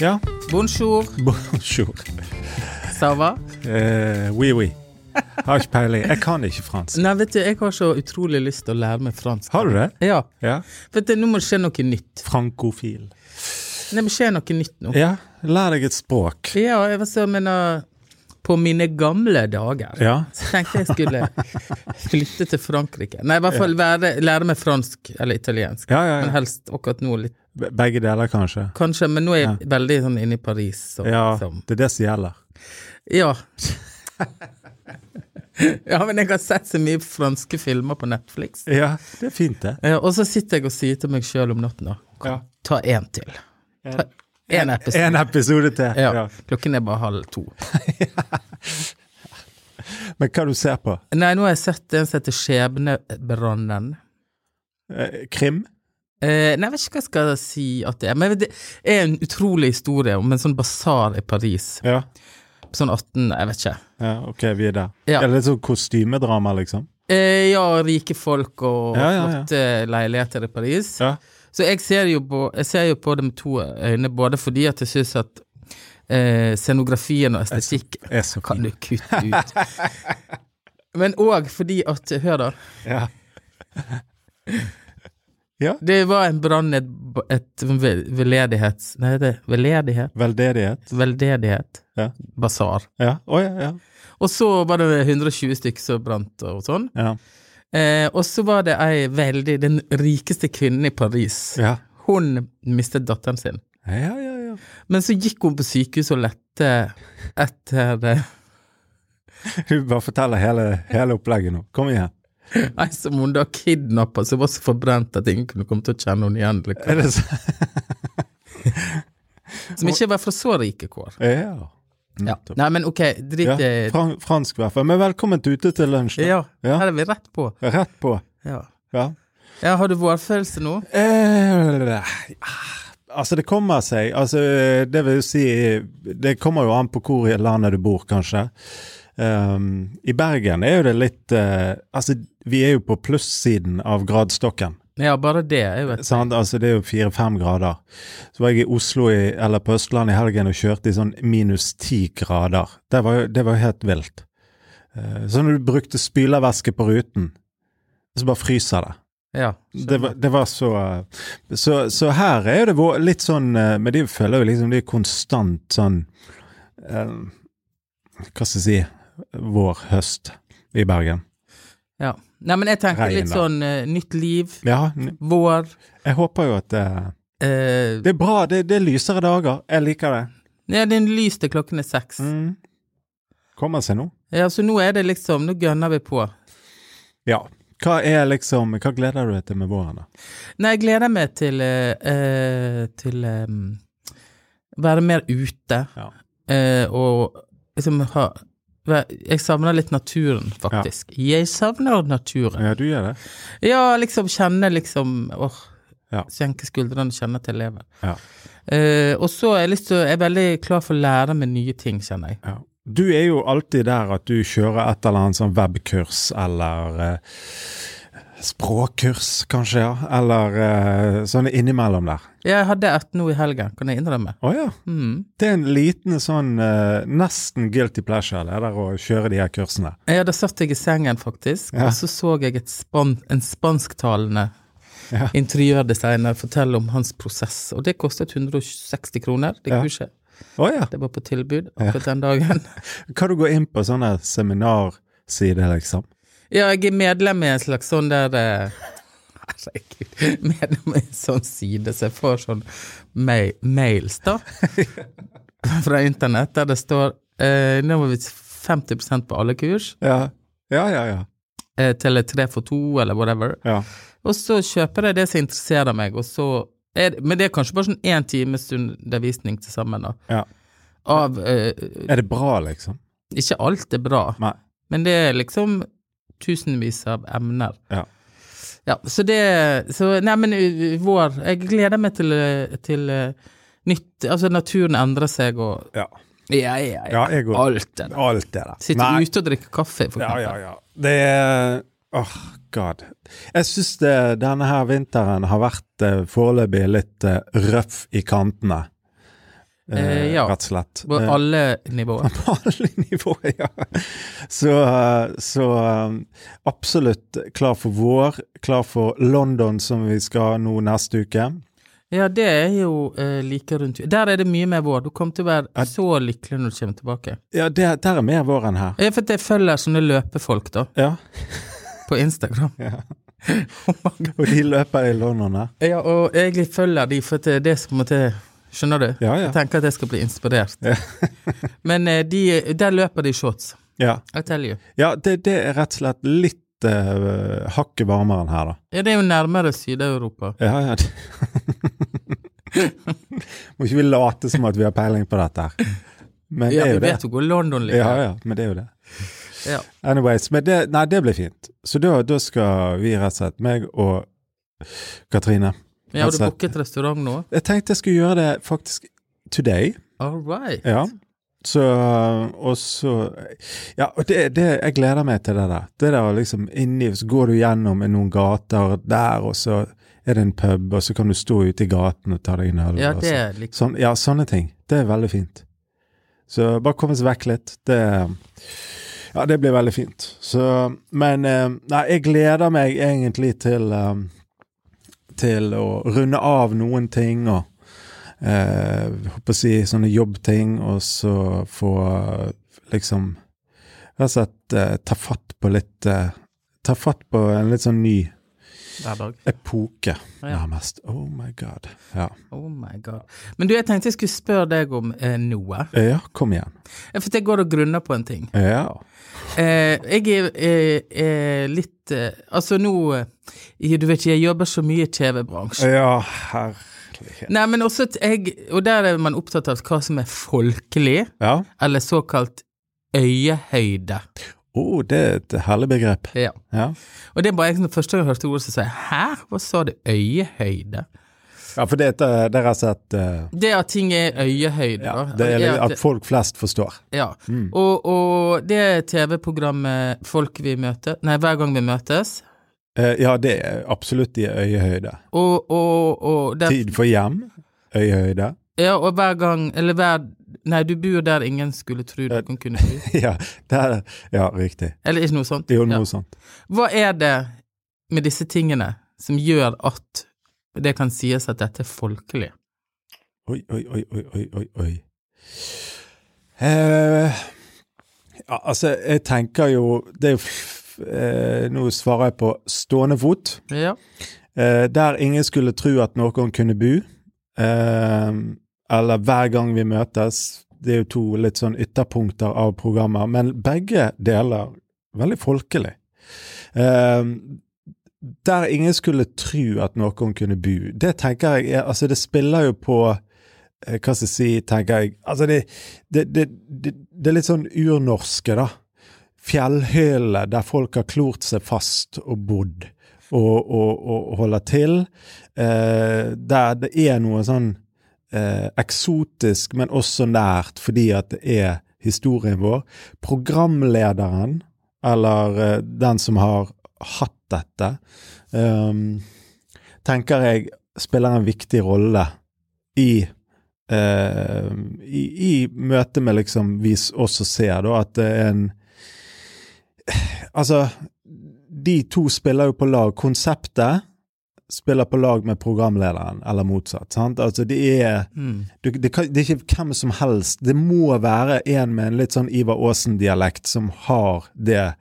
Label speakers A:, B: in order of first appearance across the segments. A: Ja.
B: Bonjour.
A: Bonjour.
B: Ça va?
A: Eh, oui, oui. Har ikke peiling. Jeg kan ikke fransk.
B: Nei, vet du, jeg har så utrolig lyst til å lære meg fransk.
A: Har du det?
B: Ja.
A: Ja.
B: Vet du, nå må det skje noe nytt.
A: Frankofil.
B: Det må skje noe nytt nå.
A: Ja. Lær deg et språk.
B: Ja, jeg var så, men uh, på mine gamle dager
A: Ja.
B: så tenkte jeg skulle flytte til Frankrike. Nei, i hvert fall være, lære meg fransk eller italiensk.
A: Ja, ja,
B: Men
A: ja.
B: helst akkurat nå litt,
A: Be- Begge deler, kanskje.
B: kanskje. Men nå er jeg veldig sånn inne i Paris. Så,
A: Ja,
B: liksom.
A: det er det som gjelder.
B: ja. ja, men jeg har sett så mye franske filmer på Netflix.
A: Ja, det er fint, det.
B: Ja, Eh, og så sitter jeg og sier til meg sjøl om natten da,
A: Ja.
B: ta én til. Ta én episode.
A: En episode til.
B: Ja.
A: Ja.
B: Klokken er bare halv to.
A: Men hva du ser på?
B: Nei, nå har jeg sett en som heter Skjebnebrannen.
A: Eh, Krim?
B: Eh, nei, jeg vet ikke hva jeg skal si at det er, men det er en utrolig historie om en sånn basar i Paris.
A: Ja.
B: Sånn 18, jeg vet ikke.
A: ja. Ok, vi er der.
B: Ja.
A: Er det litt sånn kostymedrama, liksom?
B: Eh, ja, rike folk og
A: Ja, ja, ja.
B: flotte leiligheter i Paris.
A: Ja.
B: Så jeg ser, jo på, jeg ser jo på det med to øyne, både fordi at jeg syns at eh, scenografien og estetikk
A: Er så
B: kan
A: fint.
B: du kutte ut. Men òg fordi at Hør, da.
A: Ja.
B: Det var en brann, et, et vel- veldedighets... Nei, det er veldedighet?
A: Veldedighet?
B: Veldedighet.
A: Ja.
B: Basar.
A: Ja. Å ja, ja.
B: Og så var det 120 stykker som brant og sånn.
A: Ja.
B: Eh, og så var det ei veldig Den rikeste kvinnen i Paris.
A: Ja,
B: Hun mistet datteren sin.
A: ja, ja. ja.
B: Men så gikk hun på sykehus og lette etter eh,
A: Du bare forteller hele, hele opplegget nå. Kom igjen.
B: ei som hun da kidnappa, som var så forbrent at ingen kunne komme til å kjenne henne igjen. Liksom.
A: Er det så?
B: Som ikke var fra så rike kår.
A: Ja.
B: Ja. Nei, men ok,
A: Mm. Ja,
B: drit i
A: fran fransk i hvert fall. Men velkommen til Ute til lunsj. da.
B: ja,
A: eh, Ja.
B: her er vi rett på.
A: Rett på.
B: Ja.
A: Ja.
B: ja har du vårfølelse nå?
A: Eh, ah, altså, det kommer seg. Altså, det vil jo si Det kommer jo an på hvor i landet du bor, kanskje. Um, I Bergen er jo det litt eh, Altså, vi er jo på plussiden av gradestokken.
B: Ja, bare det er jo et
A: Sant? Altså, det er jo fire-fem grader. Så var jeg i Oslo i, eller på Østlandet i helgen og kjørte i sånn minus ti grader. Det var, jo- det var jo helt vilt. Eh, Så når du brukte spylervæske på ruten, så bare fryser det.
B: Ja.
A: Det var, det var så, eh, så Så her er jo det vår- litt sånn eh, Men de føler jo liksom de er konstant sånn eh, Hva skal jeg si Vår-høst i Bergen.
B: ja. Nei, men jeg tenker
A: Regn,
B: litt
A: da.
B: sånn eh, nytt liv,
A: Ja,
B: vår
A: jeg håper jo at eh,
B: eh,
A: Det er bra. Det, det er lysere dager. Jeg liker det.
B: Ja, det er lys til klokken er seks.
A: Mm. Kommer seg nå.
B: Ja, så nå er det liksom Nå gønner vi på.
A: Ja. Hva er liksom, hva gleder du deg til med våren, da?
B: Nei, jeg gleder meg til eh, eh, Til eh, være mer ute
A: Ja.
B: eh, og liksom ha væ- Jeg savner litt naturen, faktisk. Jeg savner naturen.
A: Ja, du gjør det?
B: Ja, liksom kjenne liksom Åh.
A: Ja.
B: Senke skuldrene, kjenne at jeg lever.
A: Ja.
B: Eh, og så er jeg, lyst til, å- jeg er veldig klar for å lære meg nye ting, kjenner jeg.
A: Ja. Du er jo alltid der at du kjører et eller annet sånn webkurs eller eh, språkkurs, kanskje, ja. Eller eh, sånn innimellom der.
B: Jeg hadde et nå i helgen, kan jeg innrømme.
A: Å ja.
B: Mm.
A: Det er en liten sånn eh, nesten guilty pleasure, det der å kjøre de her kursene.
B: Ja, da satt jeg i sengen, faktisk,
A: Ja.
B: og så så jeg et span en spansktalende
A: Ja.
B: interiørdesigner fortelle om hans prosess, og det kostet 160 kroner, det
A: Ja.
B: kurset.
A: Å ja.
B: Det var på tilbud akkurat den dagen.
A: Hva du går inn på sånne seminarsider, liksom?
B: Ja, jeg er medlem i en slags sånn der eh, Herregud. Medlem i en sånn side, så jeg får sånn ma mails, da. Fra internett, der det står eh, Nå var vi 50 på alle kurs,
A: Ja. Ja, ja, ja.
B: eh, til tre for to, eller whatever.
A: ja.
B: Og så kjøper jeg det som interesserer meg, og så er, Men det er kanskje bare sånn én times undervisning til sammen, da.
A: ja.
B: Av eh,
A: Er det bra, liksom?
B: Ikke alt er bra,
A: Nei.
B: men det er liksom tusenvis av emner.
A: Ja.
B: Ja, så det så, Nei, men ø, vår Jeg gleder meg til, ø, til ø, nytt Altså, naturen endrer seg og
A: Ja.
B: Ja, ja, ja.
A: Ja, jeg går.
B: Alt det der.
A: Alt det der.
B: Sitte
A: Nei.
B: ute og drikke kaffe, for
A: Ja,
B: eksempel.
A: ja, ja. Det er Åh, god. Jeg syns denne her vinteren har vært eh, foreløpig litt eh, røff i kantene. eh,
B: Eh, ja.
A: rett og slett.
B: På
A: Eh,
B: alle nivåer.
A: på alle nivåer, ja. Så, eh, så eh, absolutt klar for vår, klar for London som vi skal nå neste uke.
B: Ja, det er jo eh, like rundt Der er det mye mer vår. Du kommer til å
A: Ja.
B: være så lykkelig når du kommer tilbake.
A: Ja, det, der er mer vår enn her.
B: Ja, for at jeg følger sånne løpefolk, da,
A: Ja.
B: på Instagram.
A: ja.
B: Oh my God.
A: Og de løper i London her.
B: ja, og jeg følger de, for at det er det som måtte Skjønner du?
A: Ja,
B: Jeg
A: ja.
B: tenker at jeg skal bli inspirert.
A: Ja.
B: Men eh, de, der løper de shorts.
A: Ja,
B: I tell you.
A: ja det, det er rett og slett litt eh, hakket varmere enn her, da.
B: Ja, det er jo nærmere Syd-Europa.
A: Ja, ja. det- Må ikke vi late som at vi har peiling på dette her. Men det
B: Ja,
A: er jo
B: vi
A: det.
B: vet jo hvor London ligger.
A: Ja, ja, men det er jo det.
B: Ja.
A: Anyways, men det, nei, det blir fint. Så da, da skal vi rett og slett, meg og Katrine
B: Men har du
A: Altså-
B: booket restaurant nå?
A: Jeg tenkte jeg skulle gjøre det faktisk today.
B: All right.
A: Ja. Så Og så Ja, og det, det Jeg gleder meg til det der. Det der liksom inni Så går du gjennom noen gater der, og så er det en pub, og så kan du stå ute i gaten og ta deg en øl.
B: Ja,
A: og så-
B: det er litt
A: Sånn, ja, sånne ting. Det er veldig fint. Så bare komme seg vekk litt. Det, ja, det blir veldig fint. Så, men eh, nei, jeg gleder meg egentlig til, eh, til å runde av noen ting og eh, håper å si sånne jobbting, og så få eh, liksom rett og slett eh, ta fatt på litt eh, Ta fatt på en litt sånn ny
B: hver dag.
A: epoke,
B: Ja.
A: nærmest. Oh my god. Ja,
B: Oh my god. Men du, jeg tenkte jeg skulle spørre deg om eh, noe.
A: ja kom igjen.
B: Ja, For jeg går og grunner på en ting.
A: Ja.
B: Eh, jeg er, er, er litt eh, Altså nå eh, Du vet ikke, jeg jobber så mye i TV-bransjen.
A: Ja, herlighet.
B: Nei, men også at jeg Og der er man opptatt av hva som er folkelig,
A: Ja.
B: eller såkalt øyehøyde.
A: Oh, det er et herlig begrep.
B: Ja.
A: Ja,
B: Og det er bare jeg som første gang jeg hørte ordet, så sa jeg hæ, hva sa du, øyehøyde?
A: ja for det er det er rett og slett eh,
B: Det at ting er øyehøyde,
A: ja, Mm.
B: da.
A: det er litt
B: at-
A: At folk flest forstår.
B: Ja. Og, og det TV-programmet Folk vi møter Nei, Hver gang vi møtes.
A: Eh, Ja, det er absolutt i øyehøyde.
B: Og, og, og der,
A: Tid for hjem, øyehøyde.
B: Ja, og hver gang Eller hver Nei, du bor der ingen skulle tro
A: Eh.
B: noen kunne bo.
A: Ja, det er, ja riktig.
B: Eller ikke noe sånt.
A: Det er jo
B: Ja.
A: noe sånt.
B: Hva er det med disse tingene som gjør at det kan sies at dette er folkelig?
A: Oi, oi, oi, oi, oi, oi, oi. Eh, ja, altså, jeg tenker jo Det er jo f- eh, Nå svarer jeg på stående fot.
B: Ja.
A: Eh, der ingen skulle tro at noen kunne bo, eh, eller hver gang vi møtes. Det er jo to litt sånn ytterpunkter av programmer, men begge deler veldig folkelig. Eh, der ingen skulle tro at noen kunne bo. Det tenker jeg er Altså, det spiller jo på eh, hva skal jeg si, tenker jeg Altså, det, det, det, det, det er litt sånn urnorske, da fjellhylene der folk har klort seg fast og bodd og, og, og holder til, eh, der det er noe sånn eh, eksotisk, men også nært, fordi at det er historien vår. Programlederen, eller eh, den som har hatt dette, ehm, tenker jeg spiller en viktig rolle i eh, i, I møte med liksom vi s- også ser, da, at det er en Altså, de to spiller jo på lag. Konseptet spiller på lag med programlederen, eller motsatt. sant? Altså, det er
B: Mm.
A: det, det, kan, det er ikke hvem som helst. Det må være en med en litt sånn Ivar Aasen-dialekt som har det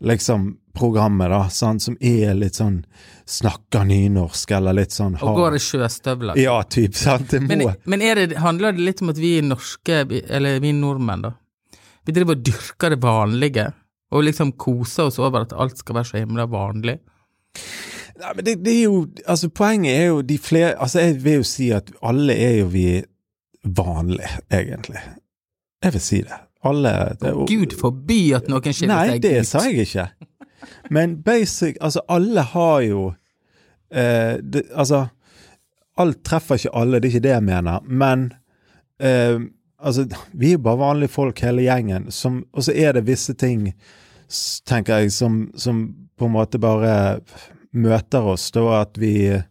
A: liksom programmet, da. Sant? Som er litt sånn Snakker nynorsk, eller litt sånn
B: Og går i sjøstøvler.
A: Ja, typ, sant? Altså. Det må
B: Men, men er det, handler det litt om at vi norske, vi- eller vi nordmenn, da, vi driver og dyrker det vanlige, og liksom koser oss over at alt skal være så himla vanlig?
A: Nei, men det, det er jo Altså, poenget er jo de flere Altså, jeg vil jo si at alle er jo vi vanlige, egentlig. Jeg vil si det. Alle det, og-
B: Gud forby at noen skiller
A: Nei,
B: seg
A: det
B: ut.
A: sa jeg ikke. Men basic Altså, alle har jo eh, det, Altså, alt treffer ikke alle, det er ikke det jeg mener, men eh, Altså, vi er bare vanlige folk, hele gjengen, som, og så er det visse ting, s- tenker jeg, som, som på en måte bare møter oss, da at vi eh,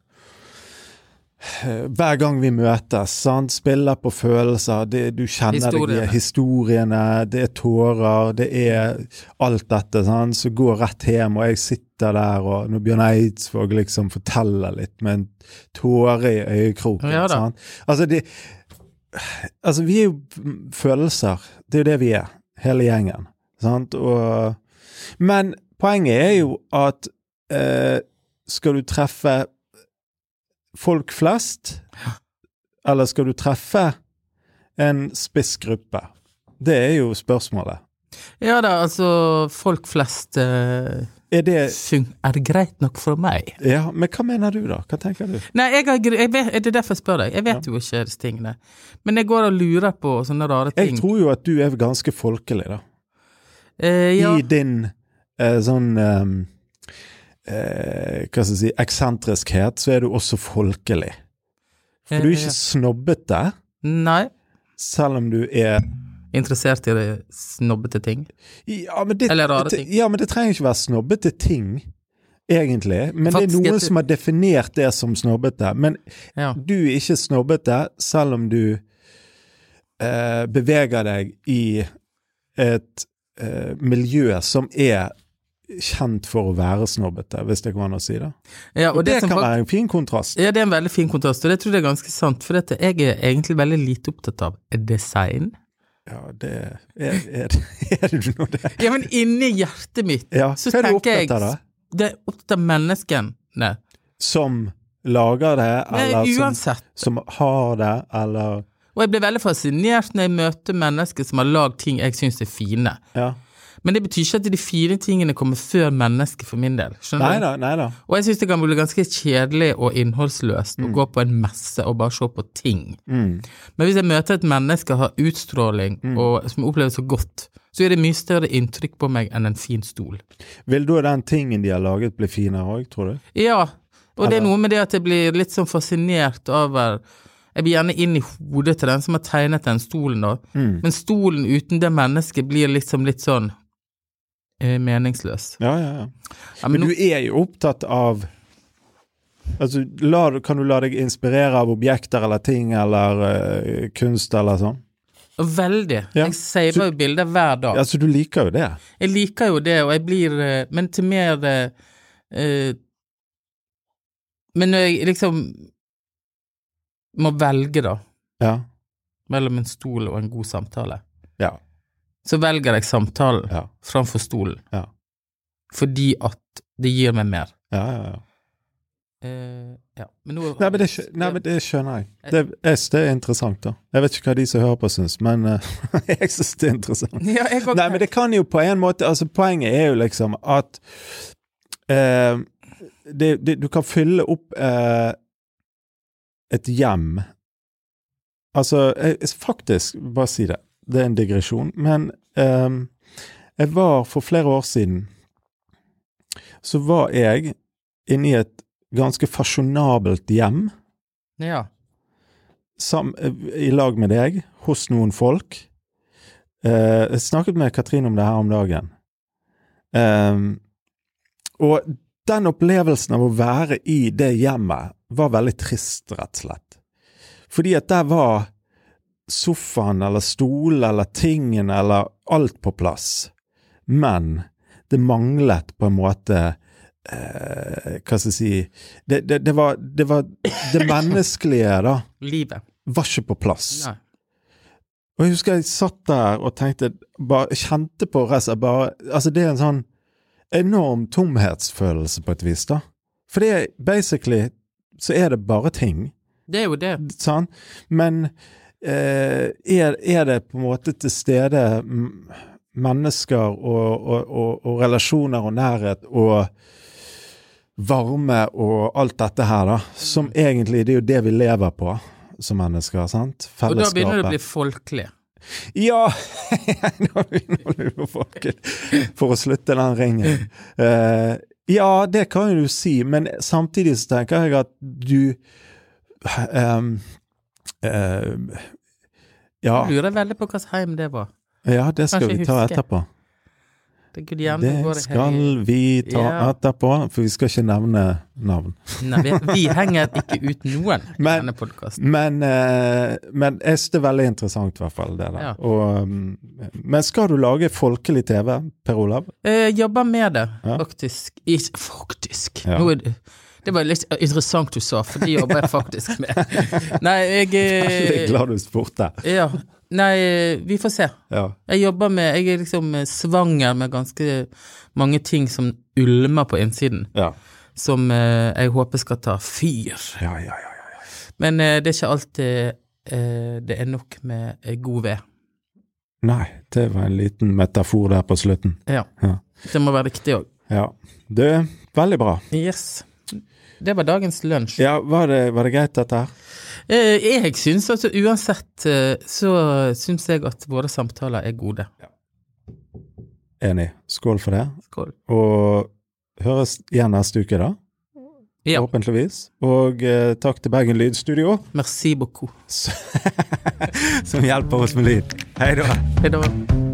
A: hver gang vi møtes, sant? spiller på følelser, det, du kjenner deg i
B: Historiene.
A: eh, historiene, det er tårer, det er alt dette sant? som går rett hjem, og jeg sitter der, og når Bjørn Eidsvåg liksom forteller litt med en tåre i øyekroken
B: Ja da.
A: sant? Altså, det, altså, vi er jo følelser. Det er jo det vi er, hele gjengen. Sant? Og, men poenget er jo at eh, skal du treffe folk flest, eller skal du treffe en spissgruppe? Det er jo spørsmålet.
B: Ja da, altså, folk flest eh,
A: Er det
B: syng, er greit nok for meg.
A: Ja, men hva mener du, da? Hva tenker du?
B: Nei, jeg har, gre- jeg vet, det er derfor jeg spør deg. Jeg vet jo ikke disse tingene. Men jeg går og lurer på sånne rare ting.
A: Jeg tror jo at du er ganske folkelig, da.
B: eh, ja,
A: I din eh, sånn eh, eh, Hva skal jeg si eksentriskhet, så er du også folkelig. For du er ikke snobbete,
B: Eh, Nei.
A: selv om du er
B: Interessert i det snobbete ting.
A: Ja, men det,
B: Eller rare
A: det-
B: ting.
A: Ja, men det trenger ikke være snobbete ting, egentlig. Men
B: Faktisk
A: det er
B: heter-
A: noen som har definert det som snobbete. Men
B: Ja.
A: du er ikke snobbete selv om du eh, beveger deg i et eh, miljø som er kjent for å være snobbete, hvis det går an å si det.
B: ja
A: Og det,
B: som
A: kan
B: fak-
A: være en fin kontrast.
B: Ja, det er en veldig fin kontrast, og det tror jeg er ganske sant. For dette, jeg er egentlig veldig lite opptatt av design.
A: Ja, det er, er, er du nå det?
B: Ja, men inni hjertet mitt
A: Ja,
B: så
A: hva er du
B: tenker jeg
A: opptatt av da?
B: det er opptatt av menneskene.
A: Som lager det,
B: Nei,
A: eller som,
B: uansett.
A: som har det, eller
B: Og jeg blir veldig fascinert når jeg møter mennesker som har lagd ting jeg syns er fine.
A: Ja.
B: Men det betyr ikke at de fine tingene kommer før mennesket for min del.
A: Nei
B: Skjønner du?
A: da, nei da.
B: Og jeg syns det kan bli ganske kjedelig og innholdsløst å gå på en messe og bare se på ting.
A: Mm.
B: Men hvis jeg møter et menneske som har utstråling og som oppleves så godt, så gjør det mye større inntrykk på meg enn en fin stol.
A: Vil da den tingen de har laget bli finere òg, tror du?
B: Ja, og det er noe med det at jeg blir litt sånn fascinert over Jeg blir gjerne inn i hodet til den som har tegnet den stolen, da.
A: Mm.
B: Men stolen uten det mennesket blir liksom litt sånn eh, meningsløs.
A: Ja, ja, ja.
B: Ja,
A: Men
B: men
A: du
B: nå,
A: er jo opptatt av Altså, la, kan du la deg inspirere av objekter eller ting eller eh, kunst eller sånn?
B: veldig.
A: Ja.
B: Jeg saver jo bilder hver dag.
A: Altså, du liker jo det.
B: Jeg liker jo det, og jeg blir eh, Men til mer eh, eh, Men når jeg liksom må velge, da,
A: Ja.
B: mellom en stol og en god samtale,
A: Ja.
B: så velger jeg samtalen
A: Ja.
B: framfor stolen.
A: Ja.
B: Fordi at det gir meg mer.
A: ja, ja, ja.
B: Eh, ja. Men nå
A: Nei, men det, skjø- nei, men det skjønner jeg. Det, jeg synes det er interessant, da. Jeg vet ikke hva de som hører på, syns, men eh, jeg syns det er interessant.
B: ja, jeg går-
A: Nei, men det kan jo på en måte altså Poenget er jo liksom at eh, det, det, Du kan fylle opp eh, et hjem Altså, jeg, jeg- faktisk, bare si det. Det er en digresjon. Men eh, jeg var for flere år siden Så var jeg inne i et ganske fasjonabelt hjem
B: ja.
A: sam, i lag med deg hos noen folk. Eh, jeg snakket med Katrin om det her om dagen. Ehm, og den opplevelsen av å være i det hjemmet var veldig trist, rett og slett. Fordi at der var sofaen eller stolen eller tingen eller alt på plass. Men det manglet på en måte eh, Hva skal jeg si det, det, det, var, det var det menneskelige, da
B: Livet.
A: var ikke på plass.
B: Nei.
A: Og jeg husker jeg satt der og tenkte bare, Kjente på resten bare Altså, det er en sånn enorm tomhetsfølelse på et vis, da. For det er basically Så er det bare ting,
B: Det er jo det.
A: sant? Men eh, er, er det på en måte til stede mm, mennesker og, og, og, og relasjoner og nærhet og varme og alt dette her, da,
B: Mm.
A: som egentlig Det er jo det vi lever på som mennesker, sant?
B: Og
A: Fellesskapet.
B: da begynner det å bli folkelig.
A: Ja! Nå begynner du å folke for å slutte den ringen. Eh, ja, det kan jo du si, men samtidig så tenker jeg at du ehm, ehm, ja,
B: Lurer veldig på hvilket hjem det var.
A: ja, det skal
B: Kanskje
A: vi ta
B: huske.
A: etterpå.
B: Herregud, gjerne
A: Det
B: våre
A: skal
B: hei-
A: vi ta
B: Ja.
A: etterpå, for vi skal ikke nevne navn.
B: Nei, vi, vi henger ikke ut noen i
A: Men-
B: denne podkasten.
A: Men, eh, men jeg synes det er veldig interessant, i hvert fall. det der.
B: Ja.
A: Og, um, men skal du lage folkelig TV, Per Olav?
B: Eh, jobber med det,
A: Ja.
B: faktisk. Is, faktisk.
A: Ja.
B: Nå er det, det var litt interessant du sa, for det jobber jeg faktisk med. Nei, jeg
A: Veldig
B: eh,
A: glad du spurte.
B: Ja. Nei, vi får se.
A: Ja.
B: Jeg jobber med Jeg er liksom eh, svanger med ganske mange ting som ulmer på innsiden,
A: Ja.
B: som eh, jeg håper skal ta fyr.
A: Ja, ja, ja, ja.
B: Men eh, det er ikke alltid eh, det er nok med eh, god ved.
A: Nei, det var en liten metafor der på slutten.
B: Ja.
A: Ja.
B: Det må være riktig òg.
A: Ja. Du, veldig bra.
B: Yes. Det var dagens lunsj.
A: Ja, var det, var det greit, dette her?
B: Eh, jeg syns altså uansett eh, så syns jeg at våre samtaler er gode.
A: Enig. Skål for det.
B: Skål.
A: Og høres igjen neste uke, da.
B: Ja.
A: Forhåpentligvis. Og eh, takk til Bergen Lydstudio,
B: Merci beaucoup.
A: som hjelper oss med lyd. Hei da.
B: Hei da.